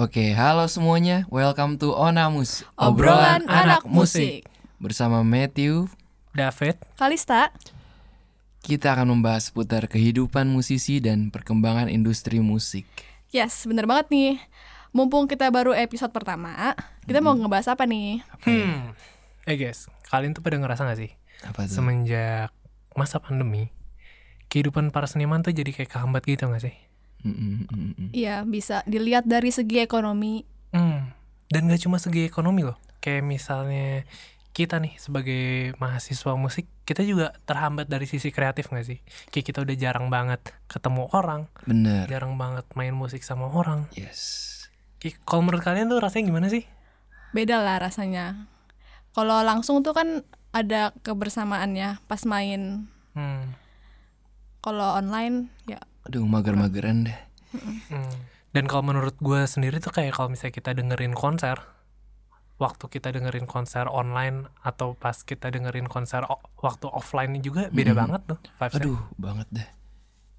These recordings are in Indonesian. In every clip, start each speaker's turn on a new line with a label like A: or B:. A: Oke, halo semuanya. Welcome to Onamus.
B: Obrolan anak musik.
A: Bersama Matthew,
C: David,
B: Kalista,
A: kita akan membahas seputar kehidupan musisi dan perkembangan industri musik.
B: yes, bener banget nih. Mumpung kita baru episode pertama, kita mau ngebahas apa nih?
A: ya?
C: hmm, eh guys, kalian tuh pada ngerasa gak sih
A: Apa tuh?
C: semenjak masa pandemi kehidupan para seniman tuh jadi kayak kehambat gitu gak sih?
A: Mm, mm, mm, mm.
B: Iya, bisa dilihat dari segi ekonomi.
C: Hmm, dan gak cuma segi ekonomi loh, kayak misalnya kita nih sebagai mahasiswa musik kita juga terhambat dari sisi kreatif gak sih? Kayak kita udah jarang banget ketemu orang,
A: Bener.
C: jarang banget main musik sama orang.
A: Yes.
C: Kayak kalau menurut kalian tuh rasanya gimana sih?
B: Beda lah rasanya. Kalau langsung tuh kan ada kebersamaannya pas main.
C: Hmm,
B: Kalau online ya
A: Aduh, mager-mageran deh.
C: Hmm. Dan kalau menurut gue sendiri tuh kayak kalau misalnya kita dengerin konser, waktu kita dengerin konser online atau pas kita dengerin konser o- waktu offline juga beda banget tuh vibes-nya.
A: Hmm. Aduh, banget deh.
B: Hmm,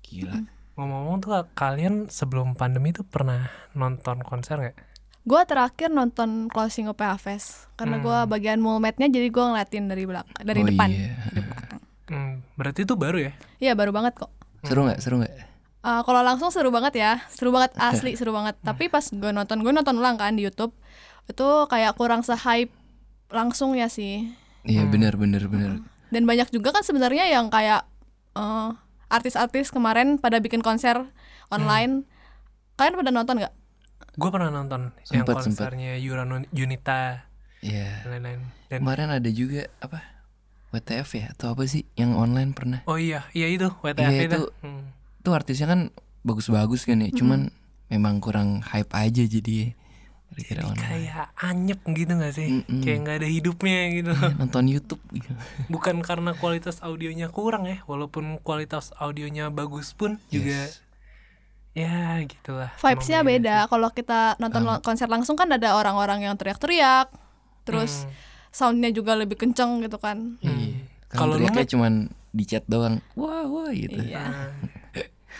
A: Gila.
C: Ngomong-ngomong tuh kalian sebelum pandemi tuh pernah nonton konser nggak?
B: gua terakhir nonton closing OPH Fest karena gua bagian mulmetnya jadi gua ngeliatin dari belakang dari
A: Hmm. Oh,
B: depan.
A: iya.
B: Dari belakang.
C: Hmm, berarti itu baru ya?
B: Iya, baru banget kok.
A: Seru nggak? Seru nggak?
B: Eh, kalau langsung seru banget ya, seru banget asli seru banget. Tapi pas gue nonton, gue nonton ulang kan di YouTube, itu kayak kurang se-hype langsung ya sih.
A: Iya, bener, bener, bener.
B: Dan banyak juga kan sebenarnya yang kayak eh, artis-artis kemarin pada bikin konser online. Kalian pada nonton nggak?
C: Gue pernah nonton yang
A: Sempet, sempet.
C: konsernya Yurano Yunita
A: Iya.
C: dan lain-lain. Dan
A: Kemarin ada juga apa? WTF ya atau apa sih yang online pernah?
C: oh iya, iya itu WTF
A: Iya,
C: itu.
A: itu.
C: Hmm.
A: Tuh artisnya kan bagus-bagus kan ya, cuman memang kurang hype aja jadi ya. Iya, kira-kira online.
C: Kayak anyep gitu gak sih?
A: Mm-mm.
C: Kayak nggak ada hidupnya gitu.
A: Iya, nonton YouTube.
C: bukan karena kualitas audionya kurang ya walaupun kualitas audionya bagus pun juga
A: Yes.
C: ya gitulah
B: Vibes-nya
C: Emang iya
B: beda. Kalau kita nonton lo- konser langsung kan ada orang-orang yang teriak-teriak,
C: Hmm,
B: terus soundnya juga lebih kenceng gitu kan.
A: Iya.
C: mm. Kalau
A: Kalau
C: lu
A: teriaknya
C: nggak-
A: cuman di chat doang. Wah, wah gitu.
B: Iya.
C: ah.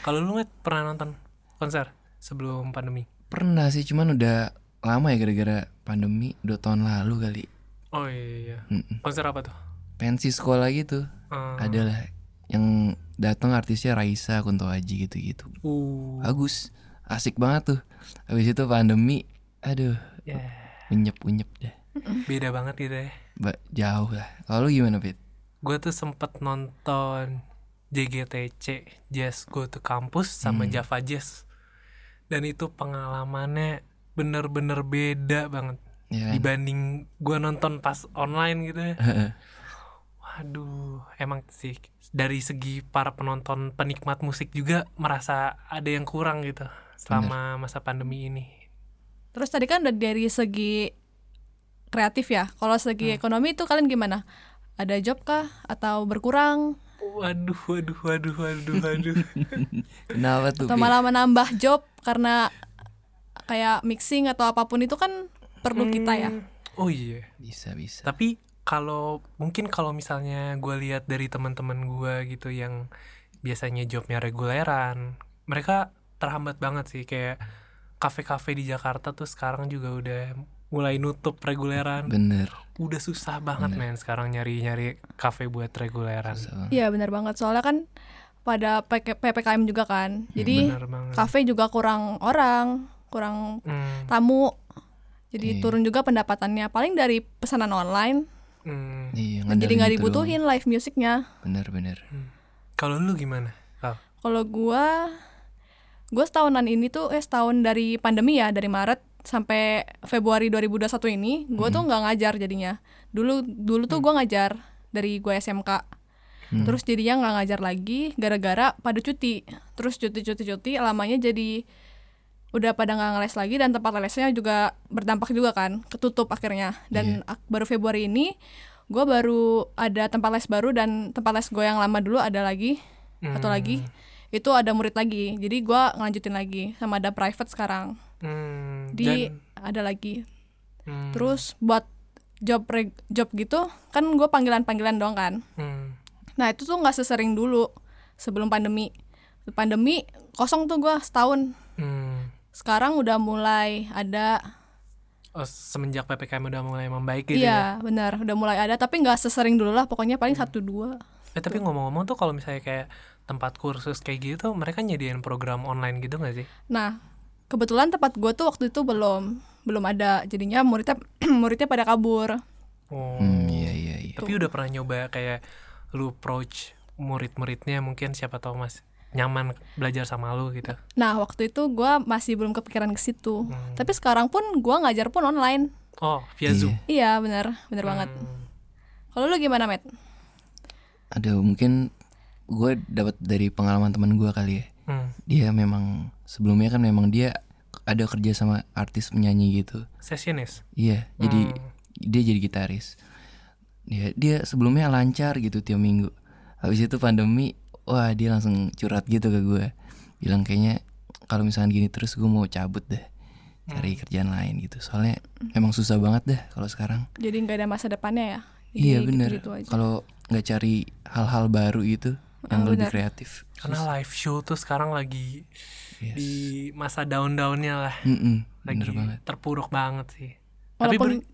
C: kalau lu Matt, pernah nonton konser sebelum pandemi
A: Pernah sih, cuman udah lama ya gara-gara pandemi dua tahun lalu kali.
C: oh iya
A: Mm-mm.
C: konser apa tuh
A: Pensi sekolah gitu.
C: Hmm.
A: Adalah yang datang artisnya Raisa Kunto Aji gitu-gitu.
C: uh
A: Bagus. Asik banget tuh. Habis itu pandemi, aduh,
C: ya
A: unyep-unyep deh.
C: beda banget gitu ya
A: Ba jauh lah. Lalu gimana, Pit?
C: gue tuh sempet nonton JGTC Jazz Go to Campus sama Java Jazz dan itu pengalamannya bener-bener beda banget
A: Ya kan?
C: dibanding gue nonton pas online gitu ya
A: Heeh.
C: Waduh, emang sih dari segi para penonton penikmat musik juga merasa ada yang kurang gitu selama masa pandemi ini.
B: Terus tadi kan udah dari segi kreatif ya. Kalau
A: Hmm.
B: segi ekonomi itu kalian gimana? Ada job kah atau berkurang
C: Waduh, waduh, waduh, waduh, waduh.
A: Kenapa tuh?
B: atau
A: Pit?
B: malah menambah job karena kayak mixing atau apapun itu kan perlu kita
A: Hmm.
B: ya.
C: oh iya.
A: Bisa, bisa.
C: Tapi kalau mungkin kalau misalnya gue lihat dari teman-teman gue gitu yang biasanya jobnya reguleran, mereka terhambat banget sih kayak kafe-kafe di Jakarta tuh sekarang juga udah mulai nutup reguleran.
A: Bener.
C: udah susah
A: Iya.
C: banget men sekarang nyari-nyari kafe buat reguleran.
A: So,
B: Iya benar banget. Soalnya kan pada PK PPKM juga kan.
A: Iya,
B: Jadi
C: Bener banget.
B: kafe juga kurang orang, kurang
C: Hmm,
B: tamu. Jadi
A: Iya.
B: turun juga pendapatannya paling dari pesanan online.
C: hmm.
A: iya,
B: Dan
A: ngandelin
B: jadi nggak
A: itu doang.
B: dibutuhin live musicnya.
A: Bener, bener.
C: Kalau lu gimana? Kal?
B: Kalau gua gua setahunan ini tuh eh setahun dari pandemi ya, dari Maret sampai Februari 2021 ini, gua tuh nggak ngajar jadinya. Dulu dulu tuh gua ngajar dari gua SMK.
C: Hmm.
B: Terus jadinya nggak ngajar lagi gara-gara pada cuti. Terus cuti-cuti-cuti lamanya jadi udah pada nggak ngeles lagi dan tempat lesnya juga berdampak juga kan, ketutup akhirnya. Dan
C: Iya.
B: ak- baru Februari ini gua baru ada tempat les baru dan tempat les gua yang lama dulu ada lagi atau lagi
C: Hmm.
B: itu ada murid lagi jadi gua ngelanjutin lagi sama ada private sekarang
C: Hmm,
B: di
C: dan-
B: ada lagi
C: hmm,
B: terus buat job reg- job gitu kan gue panggilan panggilan doang kan
C: hmm.
B: nah itu tuh nggak sesering dulu sebelum pandemi pandemi kosong tuh gua setahun
C: Hmm.
B: Sekarang udah mulai ada
C: Oh, semenjak ppkm udah mulai membaik gitu
B: Iya, benar. Udah mulai ada tapi nggak sesering dulu lah, pokoknya paling satu dua.
C: ya eh, tapi ngomong-ngomong tuh kalau misalnya kayak tempat kursus kayak gitu mereka nyediain program online gitu nggak sih
B: Nah, kebetulan tempat gue tuh waktu itu belum belum ada. Jadinya muridnya muridnya pada kabur.
C: oh
A: Hmm, iya iya iya.
C: tapi udah pernah nyoba kayak lu approach murid-muridnya mungkin siapa tahu mas nyaman belajar sama lu gitu
B: Nah, waktu itu gue masih belum kepikiran ke situ. Tapi sekarang pun gue ngajar pun online.
C: oh via zoom
B: Iya, benar, benar banget. Kalau lu gimana, Matt?
A: Aduh, mungkin gue dapat dari pengalaman teman gue kali ya.
C: Hmm.
A: Dia memang sebelumnya kan memang dia ada kerja sama artis penyanyi gitu.
C: sessionis
A: Iya, jadi dia jadi gitaris. Dia dia sebelumnya lancar gitu tiap minggu. Habis itu pandemi, wah dia langsung curhat gitu ke gue. Bilang kayaknya kalau misalnya gini terus gue mau cabut deh. Cari kerjaan lain gitu. Soalnya memang susah banget deh kalau sekarang.
B: Jadi nggak ada masa depannya ya? Jadi
A: Iya bener
B: gitu-gitu aja.
A: Kalau nggak cari hal-hal baru itu yang
B: Ah,
A: lebih
B: bener.
A: kreatif.
C: karena live show tuh sekarang lagi
A: Yes.
C: di masa down-downnya lah
A: Mm-mm,
C: lagi
A: bener banget.
C: terpuruk banget sih tapi
B: Walaupun
C: ber-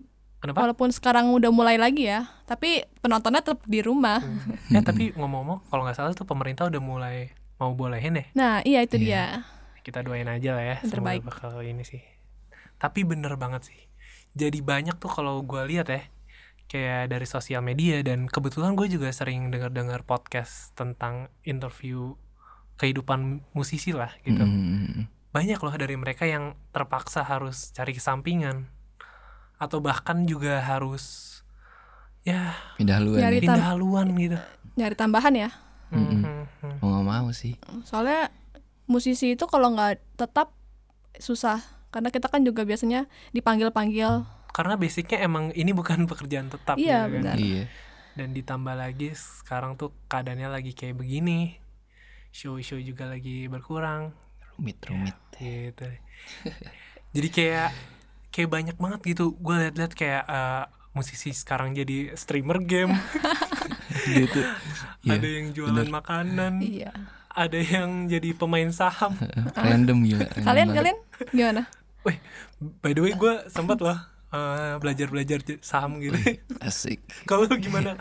C: kenapa
B: walaupun sekarang udah mulai lagi ya, tapi penontonnya tetap di rumah.
C: eh
A: Hmm.
C: tapi ngomong-ngomong kalau nggak salah tuh pemerintah udah mulai mau bolehin deh
B: Nah, iya itu dia.
C: kita doain aja lah ya
B: Yang
C: semoga
B: terbaik.
C: bakal ini sih tapi bener banget sih jadi banyak tuh kalau gua lihat ya kayak dari sosial media dan kebetulan gue juga sering dengar-dengar podcast tentang interview kehidupan musisi lah gitu
A: Hmm. Mm-mm.
C: banyak loh dari mereka yang terpaksa harus cari kesampingan atau bahkan juga harus ya
A: Pindah haluan
B: Nyari
A: ya.
B: Tam-
C: pindah haluan gitu
B: Nyari tambahan ya.
A: Mm-mm.
C: Mhm.
A: Mau nggak mau sih.
B: Soalnya musisi itu kalau nggak tetap susah karena kita kan juga biasanya dipanggil-panggil.
C: karena basicnya emang ini bukan pekerjaan tetap
B: Iya,
C: gitu kan.
B: benar.
A: Iya.
C: dan ditambah lagi sekarang tuh keadaannya lagi kayak begini show-show juga lagi berkurang
A: Rumit-rumit.
C: gitu jadi kayak kayak banyak banget gitu gue liat-liat kayak eh, musisi sekarang jadi streamer game
A: Dia tuh iya,
C: ada yang jualan
A: bener.
C: makanan
B: Iya.
C: ada yang jadi pemain saham
A: random gila. random
B: Kalian
A: banget.
B: kalian gimana?
C: Wih, by the way gue sempat loh eh, belajar-belajar j- saham gitu
A: Asik.
C: kalau lu gimana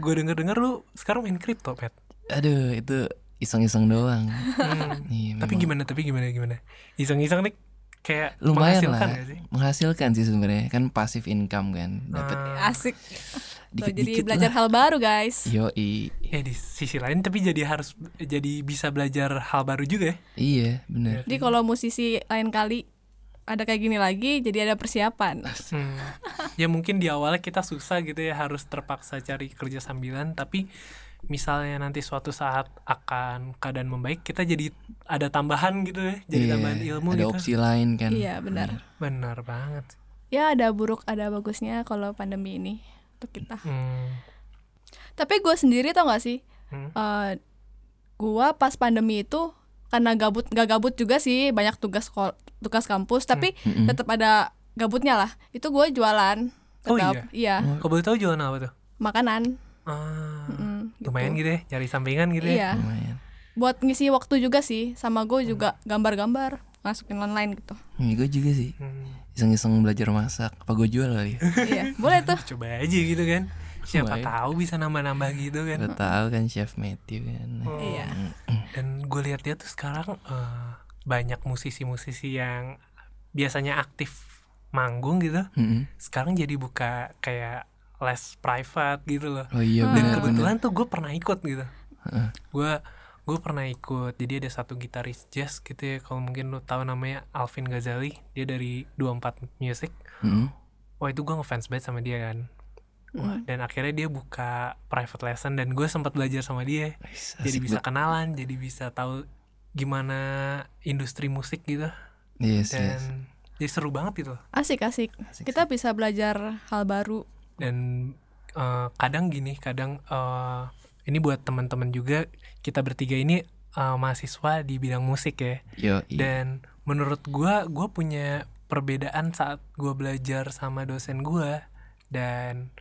C: gue denger-denger lu sekarang main kripto pet
A: Aduh, itu iseng-iseng doang.
C: Hmm.
A: Iya,
C: tapi
A: memang.
C: gimana tapi gimana gimana iseng-iseng nih kayak
A: lumayan
C: menghasilkan
A: lah.
C: gak sih
A: Menghasilkan sih sebenarnya kan pasif income kan dapat
C: Ah.
B: Asik. Tuh, jadi
A: dikit-dikit
B: belajar
A: lah. Iya.
B: hal baru, guys.
A: Yoi.
C: ya di sisi lain tapi jadi harus jadi bisa belajar hal baru juga ya
A: Iya, bener
B: Jadi kalau musisi lain kali ada kayak gini lagi, jadi ada persiapan.
C: Hmm. ya mungkin di awalnya kita susah gitu ya harus terpaksa cari kerja sambilan tapi misalnya nanti suatu saat akan keadaan membaik kita jadi ada tambahan gitu ya jadi
A: Iya,
C: tambahan ilmu
A: Ada
C: gitu
A: opsi lain kan.
B: Iya, benar.
C: benar banget
B: Ya ada buruk, ada bagusnya kalau pandemi ini untuk kita.
C: Hmm.
B: Tapi gue sendiri tau gak sih,
C: Hmm.
B: Eh gue pas pandemi itu karena gabut nggak gabut juga sih banyak tugas sekol- tugas kampus, tapi
C: Hmm.
B: tetap ada gabutnya lah. Itu gue jualan,
C: Oh,
B: tetap, iya
C: kau boleh tahu jualan apa tuh
B: makanan.
C: ah,
B: Mm, gitu.
C: lumayan gitu ya cari sampingan gitu ya
B: Iya,
A: Lumayan.
B: buat ngisi waktu juga sih, sama gue juga gambar-gambar masukin online gitu.
A: Hmm, gue juga sih.
C: Hmm.
A: Iseng-iseng belajar masak. Apa gue jual kali ya?
B: iya, boleh tuh.
C: coba aja gitu kan siapa
A: Lumayan.
C: tahu bisa nambah-nambah gitu kan
A: Gue tahu kan Chef Matthew kan.
C: Oh.
B: Iya.
C: dan gue lihat dia tuh sekarang eh, banyak musisi-musisi yang biasanya aktif manggung gitu
A: Mm-mm.
C: sekarang jadi buka kayak les private gitu loh
A: Oh iya
B: Ah.
C: dan
A: benar benar.
C: kebetulan tuh gue pernah ikut gitu gue gue pernah ikut jadi ada satu gitaris jazz gitu ya kalau mungkin lo tahu namanya Alvin Ghazali dia dari 24 Music
A: Mm-mm.
C: wah itu gue ngefans banget sama dia kan Wah,
A: Hmm.
C: dan akhirnya dia buka private lesson dan gue sempat belajar sama dia
A: Wis,
C: jadi
A: asik
C: bisa
A: banget.
C: kenalan jadi bisa tahu gimana industri musik gitu
A: Yes,
C: dan
A: yes.
C: jadi seru banget gitu
B: Asik asik.
A: Asik,
B: Kita bisa belajar hal baru.
C: dan eh, kadang gini kadang eh, ini buat teman-teman juga kita bertiga ini eh, mahasiswa di bidang musik ya
A: Yo,
B: Iya.
C: dan menurut gua gua punya perbedaan saat gua belajar sama dosen gua dan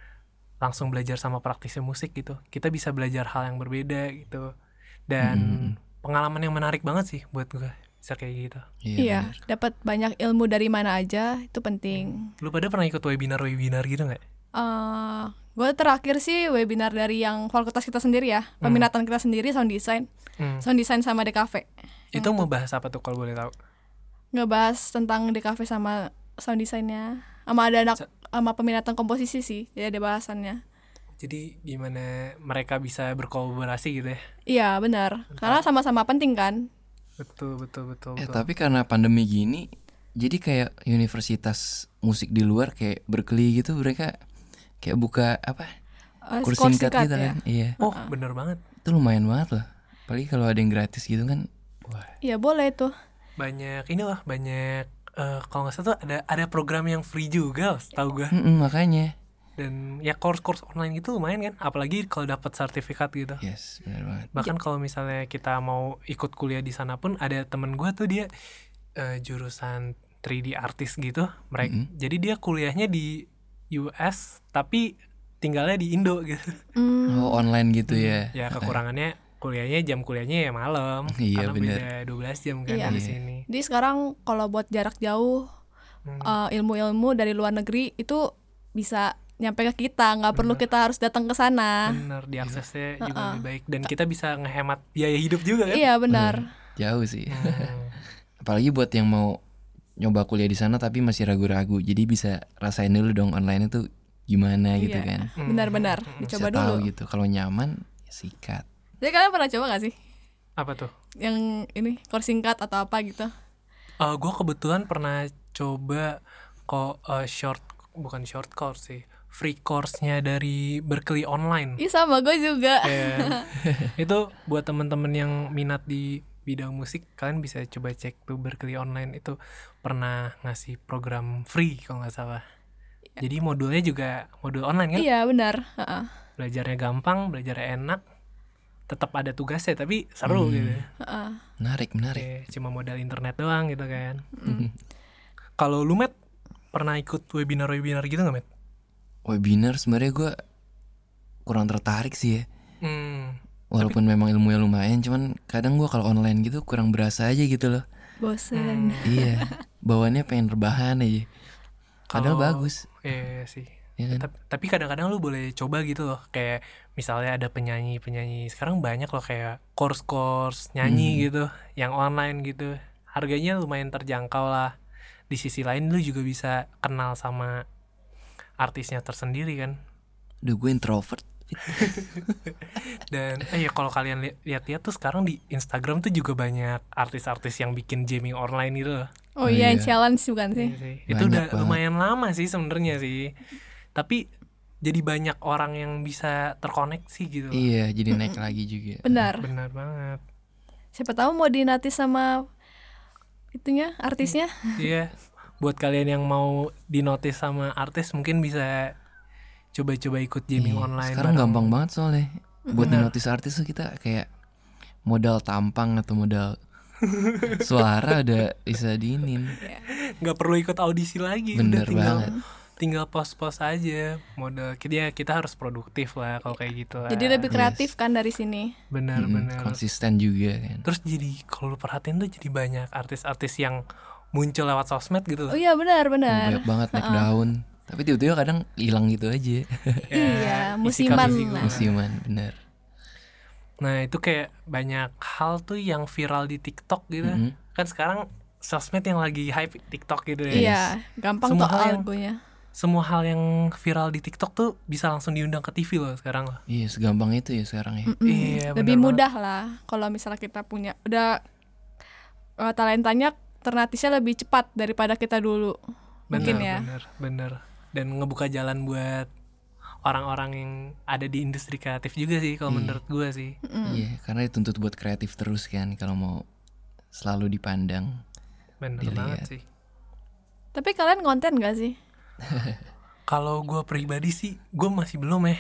C: langsung belajar sama praktisi musik gitu kita bisa belajar hal yang berbeda gitu dan pengalaman yang menarik banget sih buat gua bisa kayak gitu
B: iya
A: bener.
B: dapat banyak ilmu dari mana aja itu penting
C: lu pada pernah ikut webinar webinar gitu nggak
B: eh gue terakhir sih webinar dari yang fakultas kita sendiri ya
A: Hmm.
B: peminatan kita sendiri sound design
C: Hmm.
B: sound design sama DKV
C: itu mau bahas apa tuh kalau boleh tahu
B: ngebahas tentang DKV sama sound desainnya sama ada anak sama peminatan komposisi sih jadi ada bahasannya
C: jadi gimana mereka bisa berkolaborasi gitu ya
B: iya benar karena sama-sama penting kan
C: betul betul betul,
A: Eh
C: betul.
A: tapi karena pandemi gini, jadi kayak universitas musik di luar kayak Berkeley gitu mereka kayak buka apa
B: Eh,
A: kursi
B: skor
A: singkat
B: singkat
A: gitu
B: ya
A: kan? Iya,
C: oh bener banget
A: itu lumayan banget loh. Apalagi kalau ada yang gratis gitu kan, wah
B: iya boleh tuh
C: banyak inilah banyak eh, kalau nggak salah tuh ada ada program yang free juga tahu gue
A: Mm-mm, makanya.
C: dan ya course-course online gitu lumayan kan apalagi kalau dapat sertifikat gitu
A: Yes, benar banget.
C: bahkan kalau misalnya kita mau ikut kuliah di sana pun ada temen gue tuh dia eh, jurusan 3D artis gitu mereka
A: Mm-hmm.
C: jadi dia kuliahnya di US tapi tinggalnya di Indo gitu
B: Hmm,
A: Oh online gitu ya?
C: ya kekurangannya kuliahnya jam kuliahnya ya malam
A: Iya,
C: karena
A: bener.
C: beda 12 jam kan
B: Iya.
C: dari
A: Iya.
C: sini
B: jadi sekarang kalau buat jarak jauh
C: Hmm.
B: eh, ilmu-ilmu dari luar negeri itu bisa nyampe ke kita nggak perlu kita harus datang ke sana
C: bener diaksesnya juga lebih baik dan kita bisa ngehemat biaya hidup juga kan
B: Ah, iya benar
A: Jauh sih.
C: Hmm.
A: Apalagi buat yang mau nyoba kuliah di sana tapi masih ragu-ragu, jadi bisa rasain dulu dong online itu gimana gitu
B: Iya.
A: kan?
C: Hmm.
B: benar-benar
A: Bisa
B: dicoba
A: tahu
B: dulu
A: gitu. Kalau nyaman sikat.
B: jadi kalian pernah coba nggak sih
C: apa tuh
B: yang ini kursi singkat atau apa gitu
C: Eh gue kebetulan pernah coba kok eh, short bukan short course sih free course-nya dari Berkeley online
B: Ih sama gue juga
C: Dan itu buat temen-temen yang minat di bidang musik kalian bisa coba cek tuh Berkeley online itu pernah ngasih program free kalau nggak salah jadi modulnya juga modul online kan
B: Iya benar. Heeh.
C: belajarnya gampang belajarnya enak tetap ada tugasnya tapi seru
A: Hmm,
C: gitu
B: Heeh.
A: Menarik, menarik.
C: Oke, cuma modal internet doang gitu kan. Kalau lu Matt, pernah ikut webinar-webinar gitu nggak Matt?
A: webinar sebenarnya gue kurang tertarik sih ya
C: Hmm,
A: walaupun memang ilmunya lumayan cuman kadang gue kalau online gitu kurang berasa aja gitu loh
C: Hmm,
B: Bosen.
A: iya bawaannya pengen rebahan aja padahal bagus
C: iya sih.
A: Iya kan?
C: Tap- Tapi kadang-kadang lu boleh coba gitu loh, kayak misalnya ada penyanyi-penyanyi sekarang banyak loh kayak course-course nyanyi
A: Hmm.
C: gitu, yang online gitu. Harganya lumayan terjangkau lah. Di sisi lain lu juga bisa kenal sama artisnya tersendiri kan.
A: Duh gue introvert
C: Dan eh ya kalau kalian li- lihat-lihat tuh sekarang di Instagram tuh juga banyak artis-artis yang bikin jamming online gitu. loh.
B: Oh,
A: Oh,
B: iya,
A: iya.
B: challenge bukan sih?
C: Iya sih. Itu
A: Banyak
C: udah
A: banget.
C: lumayan lama sih sebenarnya sih. Tapi jadi banyak orang yang bisa terkoneksi gitu. loh.
A: iya jadi naik lagi juga
B: Benar.
C: Benar banget.
B: Siapa tahu mau dinatis sama itunya artisnya.
C: Iya. Buat kalian yang mau dinotis sama artis mungkin bisa coba-coba ikut jamming
A: Iya,
C: online.
A: sekarang
C: bareng.
A: gampang banget soalnya buat notice artis tuh kita kayak modal tampang atau modal suara udah bisa diinin
C: nggak perlu ikut audisi lagi udah
A: Bener
C: tinggal
A: banget.
C: tinggal post-post aja modal kita kita harus produktif lah kalau kayak gitu lah
B: Jadi lebih Hmm, kreatif kan dari sini.
C: benar
A: Mm,
C: benar
A: konsisten juga kan
C: terus jadi kalau lu perhatiin tuh jadi banyak artis-artis yang muncul lewat sosmed gitu
B: Oh
C: loh
B: iya benar
A: banyak
B: benar.
A: banget naik daun tapi tiba-tiba kadang hilang gitu aja
B: Iya,
C: isi
B: musiman
C: kami sih gua.
B: lah.
A: musiman bener
C: nah itu kayak banyak hal tuh yang viral di TikTok gitu
B: Hmm.
C: kan sekarang sosmed yang lagi hype TikTok gitu ya
B: Iya, gampang
C: Semua
B: tuh
C: hal yang-
B: algonya.
C: semua hal yang viral di TikTok tuh bisa langsung diundang ke TV loh sekarang loh
A: Iya segampang itu ya sekarang ya
B: Mm,
C: Iya, benar
B: lebih
C: banget.
B: mudah lah kalau misalnya kita punya udah eh, talentanya ternatisnya lebih cepat daripada kita dulu. Mungkin ya.
C: bener bener dan ngebuka jalan buat orang-orang yang ada di industri kreatif juga sih kalau menurut gue sih
A: Iya karena dituntut buat kreatif terus kan Kalau mau selalu dipandang
C: bener
A: Dilihat.
C: banget sih
B: Tapi kalian konten gak sih?
C: kalau gue pribadi sih gue masih belum ya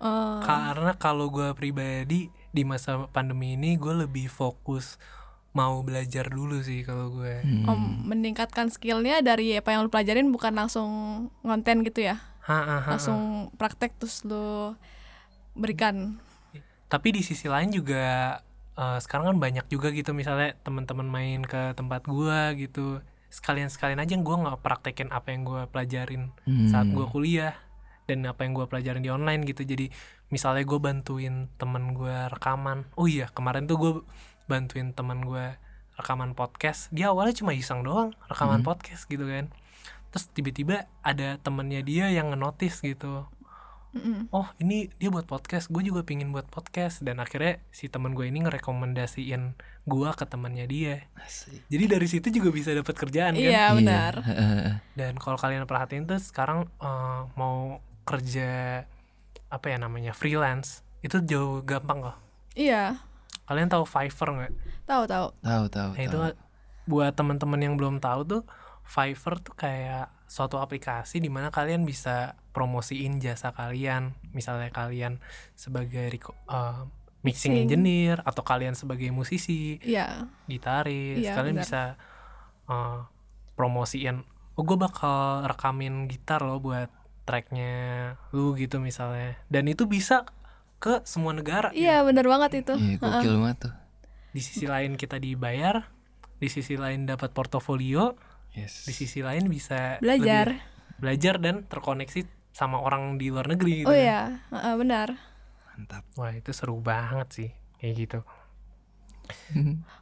B: Eh,
C: karena kalau gue pribadi di masa pandemi ini gue lebih fokus mau belajar dulu sih kalau gue
A: Hmm. Mm.
B: Om meningkatkan skillnya dari apa yang lu pelajarin bukan langsung konten gitu ya
C: Ha-ha.
B: langsung praktek terus lu berikan
C: tapi di sisi lain juga eh, eh, sekarang kan banyak juga gitu misalnya teman-teman main ke tempat gua gitu sekalian-sekalian aja gua nggak praktekin apa yang gua pelajarin saat
A: Hmm.
C: gua kuliah dan apa yang gua pelajarin di online gitu jadi misalnya gua bantuin temen gua rekaman oh iya kemarin tuh gua bantuin temen gua rekaman podcast dia awalnya cuma iseng doang
A: Mhm.
C: rekaman podcast gitu kan terus tiba-tiba ada temennya dia yang ngenotis gitu
B: Mm-mm.
C: oh ini dia buat podcast gue juga pingin buat podcast dan akhirnya si teman gue ini ngerekomendasiin gue ke temannya dia
A: Asik.
C: jadi dari situ juga bisa dapat kerjaan kan
B: Iya benar.
C: dan kalau kalian perhatiin tuh sekarang eh, mau kerja apa ya namanya freelance itu jauh gampang kok
B: Iya,
C: kalian tahu Fiverr nggak
B: tahu tahu.
A: Tahu tahu.
C: nah itu
A: tahu.
C: buat teman-teman yang belum tahu tuh Fiverr tuh kayak suatu aplikasi di mana kalian bisa promosiin jasa kalian. Misalnya kalian sebagai reco- eh, mixing,
B: Mixing.
C: engineer atau kalian sebagai musisi,
B: Iya.
C: gitaris,
B: Iya,
C: kalian
B: benar.
C: bisa eh, promosiin. Oh gue bakal rekamin gitar loh buat tracknya lu gitu misalnya. Dan itu bisa ke semua negara.
B: Iya benar banget
C: Hmm.
B: itu.
A: Iya, gokil banget tuh.
C: Di sisi lain kita dibayar, di sisi lain dapat portofolio,
A: Yes.
C: di sisi lain bisa
B: Belajar.
C: lebih belajar dan terkoneksi sama orang di luar negeri gitu
B: Oh
C: kan.
B: iya, heeh, benar.
A: Mantap.
C: wah itu seru banget sih kayak gitu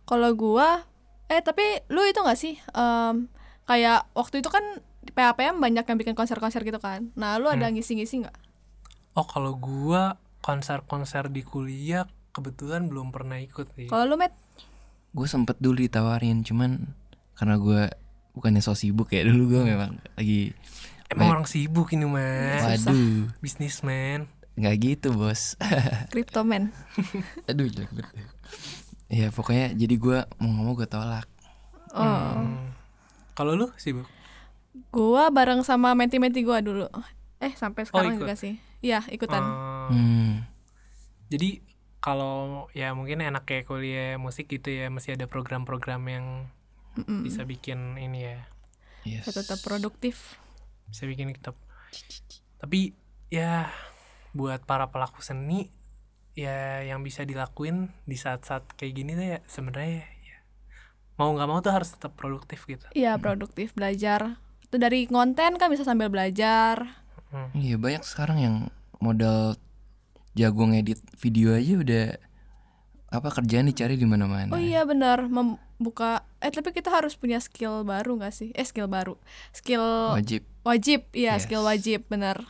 B: Kalau gua eh tapi lu itu nggak sih em, kayak waktu itu kan di PAPM banyak yang bikin konser-konser gitu kan. Nah, lu ada ngisi-ngisi nggak?
C: oh kalau gua konser-konser di kuliah kebetulan belum pernah ikut sih
B: Kalau lu met
A: gue sempet dulu ditawarin cuman karena gue bukannya so sibuk ya dulu gue memang lagi
C: emang orang sibuk ini mas
A: waduh
C: bisnismen
A: nggak gitu bos
B: Cryptoman.
A: aduh jelek banget ya pokoknya jadi gue mau ngomong gue tolak
B: Oh.
C: Hmm. kalau lu sibuk
B: Gua bareng sama menti-menti gua dulu. Eh, sampai sekarang
C: ikut.
B: juga sih. Iya, ikutan.
C: Eh,
A: hmm.
C: jadi kalau ya mungkin enak kayak kuliah musik gitu ya masih ada program-program yang
B: Mm-mm.
C: bisa bikin ini ya
A: yes.
B: tetap produktif.
C: bisa bikin kitab tapi ya buat para pelaku seni ya yang bisa dilakuin di saat-saat kayak gini tuh ya sebenarnya ya, mau nggak mau tuh harus tetap produktif gitu
B: Iya, produktif belajar. Itu dari konten kan bisa sambil belajar.
A: iya banyak sekarang yang modal jago ngedit video aja udah apa kerjaan dicari di mana-mana
B: Oh iya benar, membuka eh tapi kita harus punya skill baru nggak sih? Eh, skill baru. Skill
A: wajib
B: wajib. Iya,
A: Yes.
B: skill wajib, benar.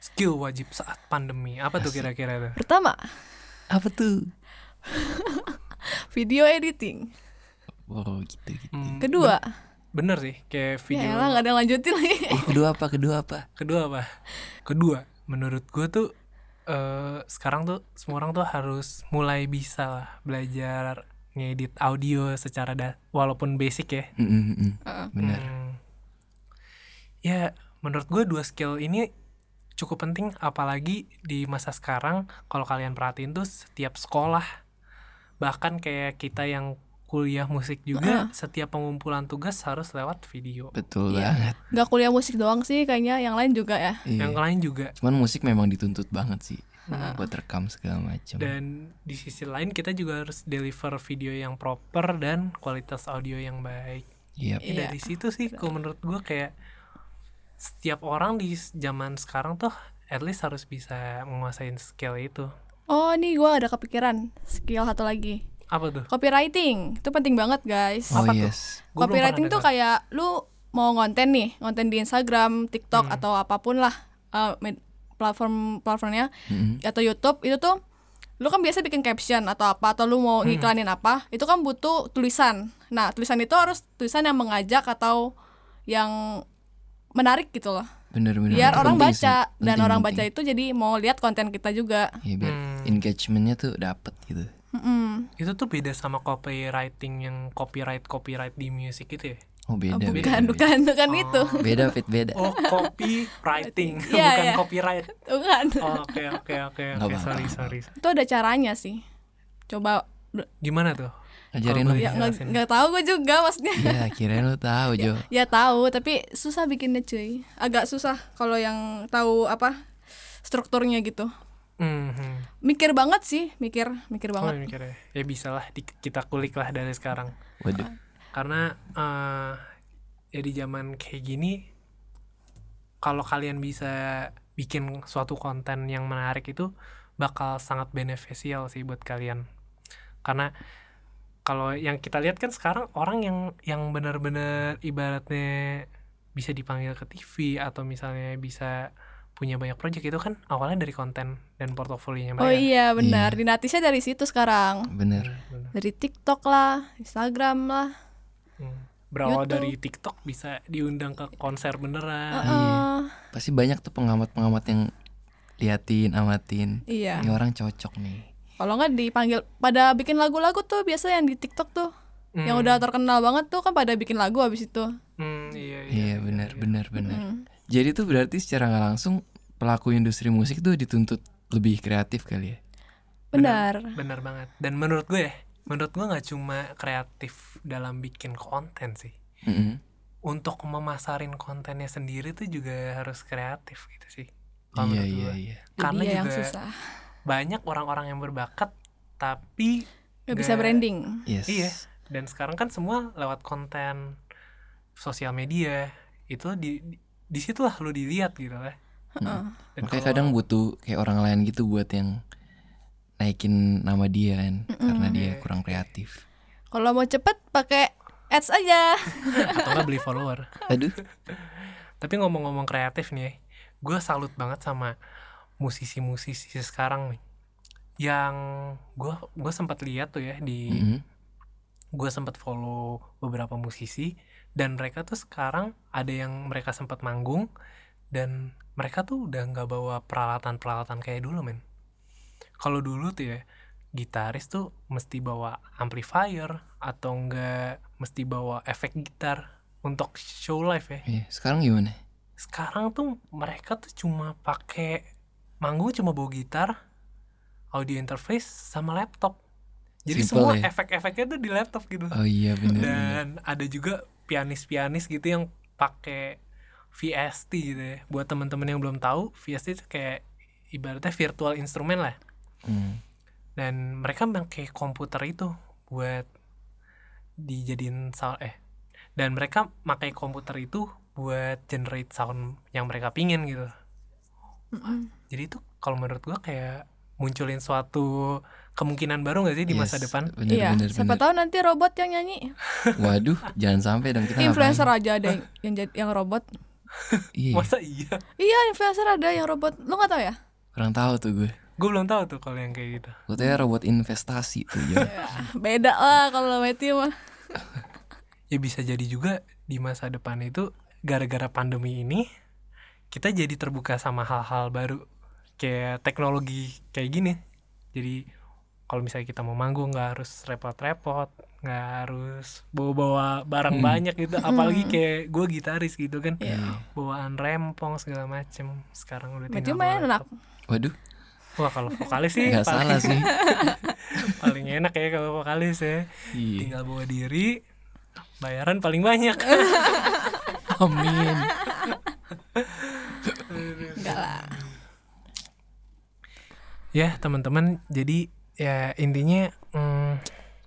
C: skill wajib saat pandemi apa tuh kira-kira tuh
B: Pertama,
A: apa tuh
B: video editing.
A: wow gitu gitu
C: Hmm,
B: Kedua,
C: bener sih kayak video
B: ya elah nggak ada yang lanjutin lagi.
A: Eh, kedua apa kedua apa
C: kedua apa kedua menurut gue tuh eh, sekarang tuh semua orang tuh harus mulai bisa lah belajar ngedit audio secara da- walaupun basic ya
A: Mm, mm, mm, mm. benar
C: Hmm. Ya, menurut gue dua skill ini cukup penting apalagi di masa sekarang kalau kalian perhatiin tuh setiap sekolah bahkan kayak kita yang kuliah musik juga setiap pengumpulan tugas harus lewat video.
A: betul
B: Iya.
A: banget
B: Nggak kuliah musik doang sih, kayaknya yang lain juga ya.
A: Iya.
C: Yang lain juga
A: cuman musik memang dituntut banget sih buat rekam segala macam
C: dan di sisi lain kita juga harus deliver video yang proper dan kualitas audio yang baik.
A: Iya,
B: Iya.
C: Ya, dari situ sih kalau menurut gue kayak setiap orang di s- zaman sekarang tuh at least harus bisa menguasain skill itu
B: Oh, nih gua ada kepikiran skill satu lagi.
C: apa tuh
B: Copywriting. Itu penting banget, guys.
A: oh
C: Apa tuh?
A: yes
C: Gua belum
B: copywriting
C: pernah
B: tuh
C: dengar.
B: kayak lu mau ngonten nih, ngonten di Instagram, TikTok
A: Hmm.
B: atau apapun lah eh, med- platform platformnya
A: Mm-mm.
B: atau YouTube itu tuh lu kan biasa bikin caption atau apa atau lu
A: Hmm.
B: mau ngiklanin apa, itu kan butuh tulisan. Nah, tulisan itu harus tulisan yang mengajak atau yang menarik gitu loh.
A: bener-bener Nah,
B: Biar
A: Itu
B: orang
A: penting sih.
B: baca dan
A: Penting,
B: orang
A: penting.
B: baca itu jadi mau lihat konten kita juga.
A: Iya, biar
C: Hmm.
A: engagementnya tuh dapet gitu
B: Mm-mm.
C: itu tuh beda sama copywriting yang copyright copyright di music itu ya
A: oh beda beda Oh.
B: bukan,
A: beda.
B: bukan, bukan itu.
A: beda fit beda
C: oh copywriting
B: Iya,
C: bukan
B: iya.
C: copyright
B: Bukan.
C: Oh, oke oke oke
A: Nggak
C: oke
A: apa-apa.
C: sorry sorry
B: Itu ada caranya sih. Coba
C: gimana tuh
A: ajarin lu
C: Kalau boleh
A: ya
B: Ya nggak
C: Jelasin.
B: nggak tahu gue juga maksudnya.
A: kirain lu tahu Jo
B: Ya tahu, tapi susah bikinnya cuy. Agak susah kalau yang tahu apa strukturnya gitu.
C: Mhm.
B: mikir banget sih mikir mikir
C: Oh,
B: banget
C: mikirnya. Ya bisa lah di- kita kulik lah dari sekarang.
A: Waduh.
C: Karena eh ya di zaman kayak gini kalau kalian bisa bikin suatu konten yang menarik itu bakal sangat beneficial sih buat kalian. Karena kalau yang kita lihat kan sekarang orang yang yang benar-benar ibaratnya bisa dipanggil ke TV atau misalnya bisa punya banyak project itu kan awalnya dari konten dan portofolionya
B: oh
C: mereka.
B: iya benar dinatisnya dari situ sekarang
A: Bener.
C: Bener.
B: dari TikTok lah Instagram lah
C: Hmm. Berawal
B: YouTube.
C: dari TikTok bisa diundang ke konser beneran.
B: Eh,
A: Pasti banyak tuh pengamat-pengamat yang liatin, amatin.
B: iya
A: Ini orang cocok nih.
B: kalau nggak dipanggil pada bikin lagu-lagu tuh biasa yang di TikTok tuh
C: Hmm.
B: yang udah terkenal banget tuh kan pada bikin lagu abis itu
C: Hmm, iya, iya,
A: Iya benar, benar, benar.
B: Mm.
A: Jadi tuh berarti secara nggak langsung pelaku industri musik tuh dituntut lebih kreatif kali ya.
B: benar
C: Bener banget. Dan menurut gue ya, menurut gue nggak cuma kreatif dalam bikin konten sih.
A: Mm-mm.
C: Untuk memasarin kontennya sendiri tuh juga harus kreatif gitu sih. Kalau
A: Iya,
C: menurut
A: iya,
C: gue.
A: iya.
B: Itu
C: Karena
B: dia ya yang
C: juga
B: susah
C: banyak orang-orang yang berbakat tapi
B: nggak bisa
C: nggak-
B: branding
A: Yes.
C: Iya. Dan sekarang kan semua lewat konten sosial media itu di di- disitulah lu dilihat gitu lah.
B: Heeh.
C: Dan
A: Makanya
C: kalau-
A: kadang butuh kayak orang lain gitu buat yang naikin nama dia kan karena dia
C: Iya.
A: kurang kreatif.
B: kalau mau cepet pakai ads aja
C: atau nggak beli follower.
A: Aduh.
C: Tapi ngomong-ngomong kreatif nih, gue salut banget sama musisi-musisi sekarang nih. Yang gue gue sempat lihat tuh ya di
A: Mm-mm.
C: gue sempat follow beberapa musisi dan mereka tuh sekarang ada yang mereka sempat manggung dan mereka tuh udah nggak bawa peralatan-peralatan kayak dulu men. Kalau dulu tuh ya gitaris tuh mesti bawa amplifier atau enggak mesti bawa efek gitar untuk show live ya
A: Iya, Sekarang gimana?
C: sekarang tuh mereka tuh cuma pakai manggung cuma bawa gitar audio interface sama laptop
A: Simple
C: jadi semua
A: ya.
C: efek-efeknya tuh di laptop gitu
A: Oh iya benar. benar.
C: dan ada juga pianis-pianis gitu yang pakai VST gitu ya buat temen-temen yang belum tahu VST itu kayak ibaratnya virtual instrumen lah
A: Hmm.
C: dan mereka pakai komputer itu buat dijadiin sound eh dan mereka pakai komputer itu buat generate sound yang mereka pingin gitu
B: Mm-mm.
C: jadi itu kalau menurut gua kayak munculin suatu kemungkinan baru nggak sih di masa
A: Yes,
C: depan
A: Benar,
B: iya
A: benar,
B: siapa
A: benar.
B: tahu nanti robot yang nyanyi
A: Waduh, jangan sampai dong kita
B: influencer
A: ngapain.
B: aja ada yang yang, jadi- yang robot
A: Iya,
C: masa iya
B: iya influencer ada yang robot lu nggak tahu ya
A: kurang tahu tuh gue.
C: gue belum tahu tuh kalau yang kayak gitu
A: Gue tuh ya robot investasi tuh ya.
B: beda lah kalau Matthew mah
C: ya bisa jadi juga di masa depan itu gara-gara pandemi ini kita jadi terbuka sama hal-hal baru kayak teknologi kayak gini jadi kalau misalnya kita mau manggung nggak harus repot-repot nggak harus bawa-bawa barang
A: Hmm.
C: banyak gitu apalagi kayak gue gitaris gitu kan
A: Iya.
C: bawaan rempong segala macem sekarang udah
B: Matthew
C: tinggal
B: main enak
C: bawa-
A: Waduh,
C: wah kalau vokalis sih
A: nggak salah
C: paling,
A: sih.
C: paling enak ya kalau vokalis ya
A: Iya.
C: tinggal bawa diri bayaran paling banyak
A: Amin.
B: enggak lah
C: ya teman-teman jadi ya intinya mm,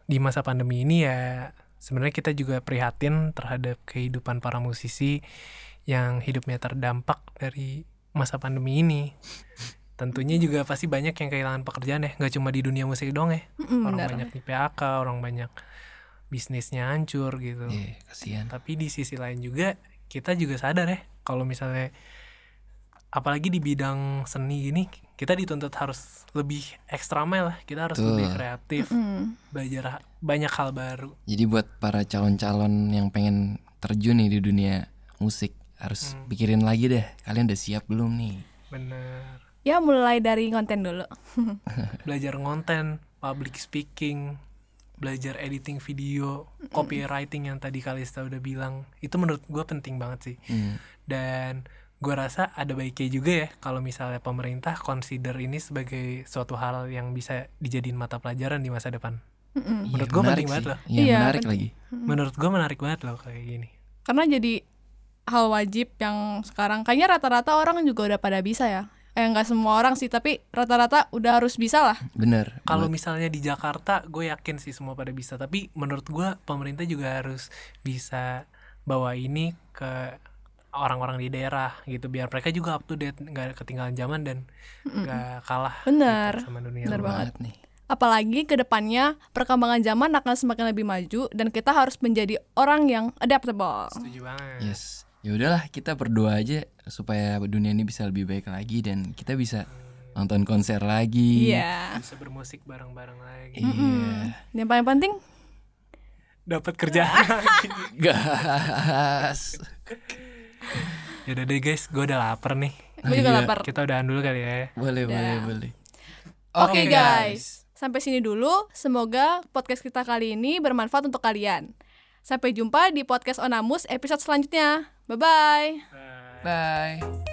C: di masa pandemi ini ya sebenarnya kita juga prihatin terhadap kehidupan para musisi yang hidupnya terdampak dari masa pandemi ini tentunya juga pasti banyak yang kehilangan pekerjaan ya nggak cuma di dunia musik doang ya
B: Mm-mm,
C: orang
B: benar.
C: banyak di PHK orang banyak bisnisnya hancur gitu
A: Iya, kasihan.
C: tapi di sisi lain juga kita juga sadar ya kalau misalnya apalagi di bidang seni gini kita dituntut harus lebih ekstra mile lah kita harus
A: Betul.
C: lebih kreatif
B: Mm.
C: belajar ha- banyak hal baru
A: Jadi buat para calon-calon yang pengen terjun nih di dunia musik harus
C: Hmm.
A: pikirin lagi deh, kalian udah siap belum nih?
C: bener
B: ya mulai dari konten dulu
C: belajar konten public speaking belajar editing video copywriting yang tadi Kalista udah bilang itu menurut gue penting banget sih
A: Hmm.
C: dan gue rasa ada baiknya juga ya kalau misalnya pemerintah consider ini sebagai suatu hal yang bisa dijadiin mata pelajaran di masa depan
B: Mm-mm.
A: Iya,
C: Menurut gua
A: menarik
C: penting banget
A: sih.
C: loh.
A: Iya,
B: Iya,
A: menarik lagi.
C: menurut gue menarik banget loh kayak gini
B: karena jadi hal wajib yang sekarang kayaknya rata-rata orang juga udah pada bisa ya eh nggak semua orang sih tapi rata-rata udah harus bisa lah
A: bener
C: Kalau
A: buat-
C: misalnya di Jakarta, gue yakin sih semua pada bisa. Tapi menurut gue, pemerintah juga harus bisa bawa ini ke orang-orang di daerah gitu, biar mereka juga up to date, nggak ketinggalan zaman dan nggak kalah gitu
B: Bener.
C: sama dunia
B: Bener
C: luar.
A: banget nih
B: apalagi kedepannya perkembangan zaman akan semakin lebih maju dan kita harus menjadi orang yang adaptable
C: Setuju banget.
A: yes ya udahlah kita berdoa aja supaya dunia ini bisa lebih baik lagi dan kita bisa nonton konser lagi
B: iya
C: Bisa bermusik bareng-bareng lagi.
A: iya
B: yang paling penting
C: Dapat kerjaan.
A: gas
C: Yaudah deh guys, gue udah lapar nih.
B: gue juga
A: Iya.
B: lapar
C: Kita udahan dulu kali ya.
A: boleh boleh boleh
B: oke guys sampai sini dulu semoga podcast kita kali ini bermanfaat untuk kalian sampai jumpa di podcast Onamus episode selanjutnya bye bye
A: bye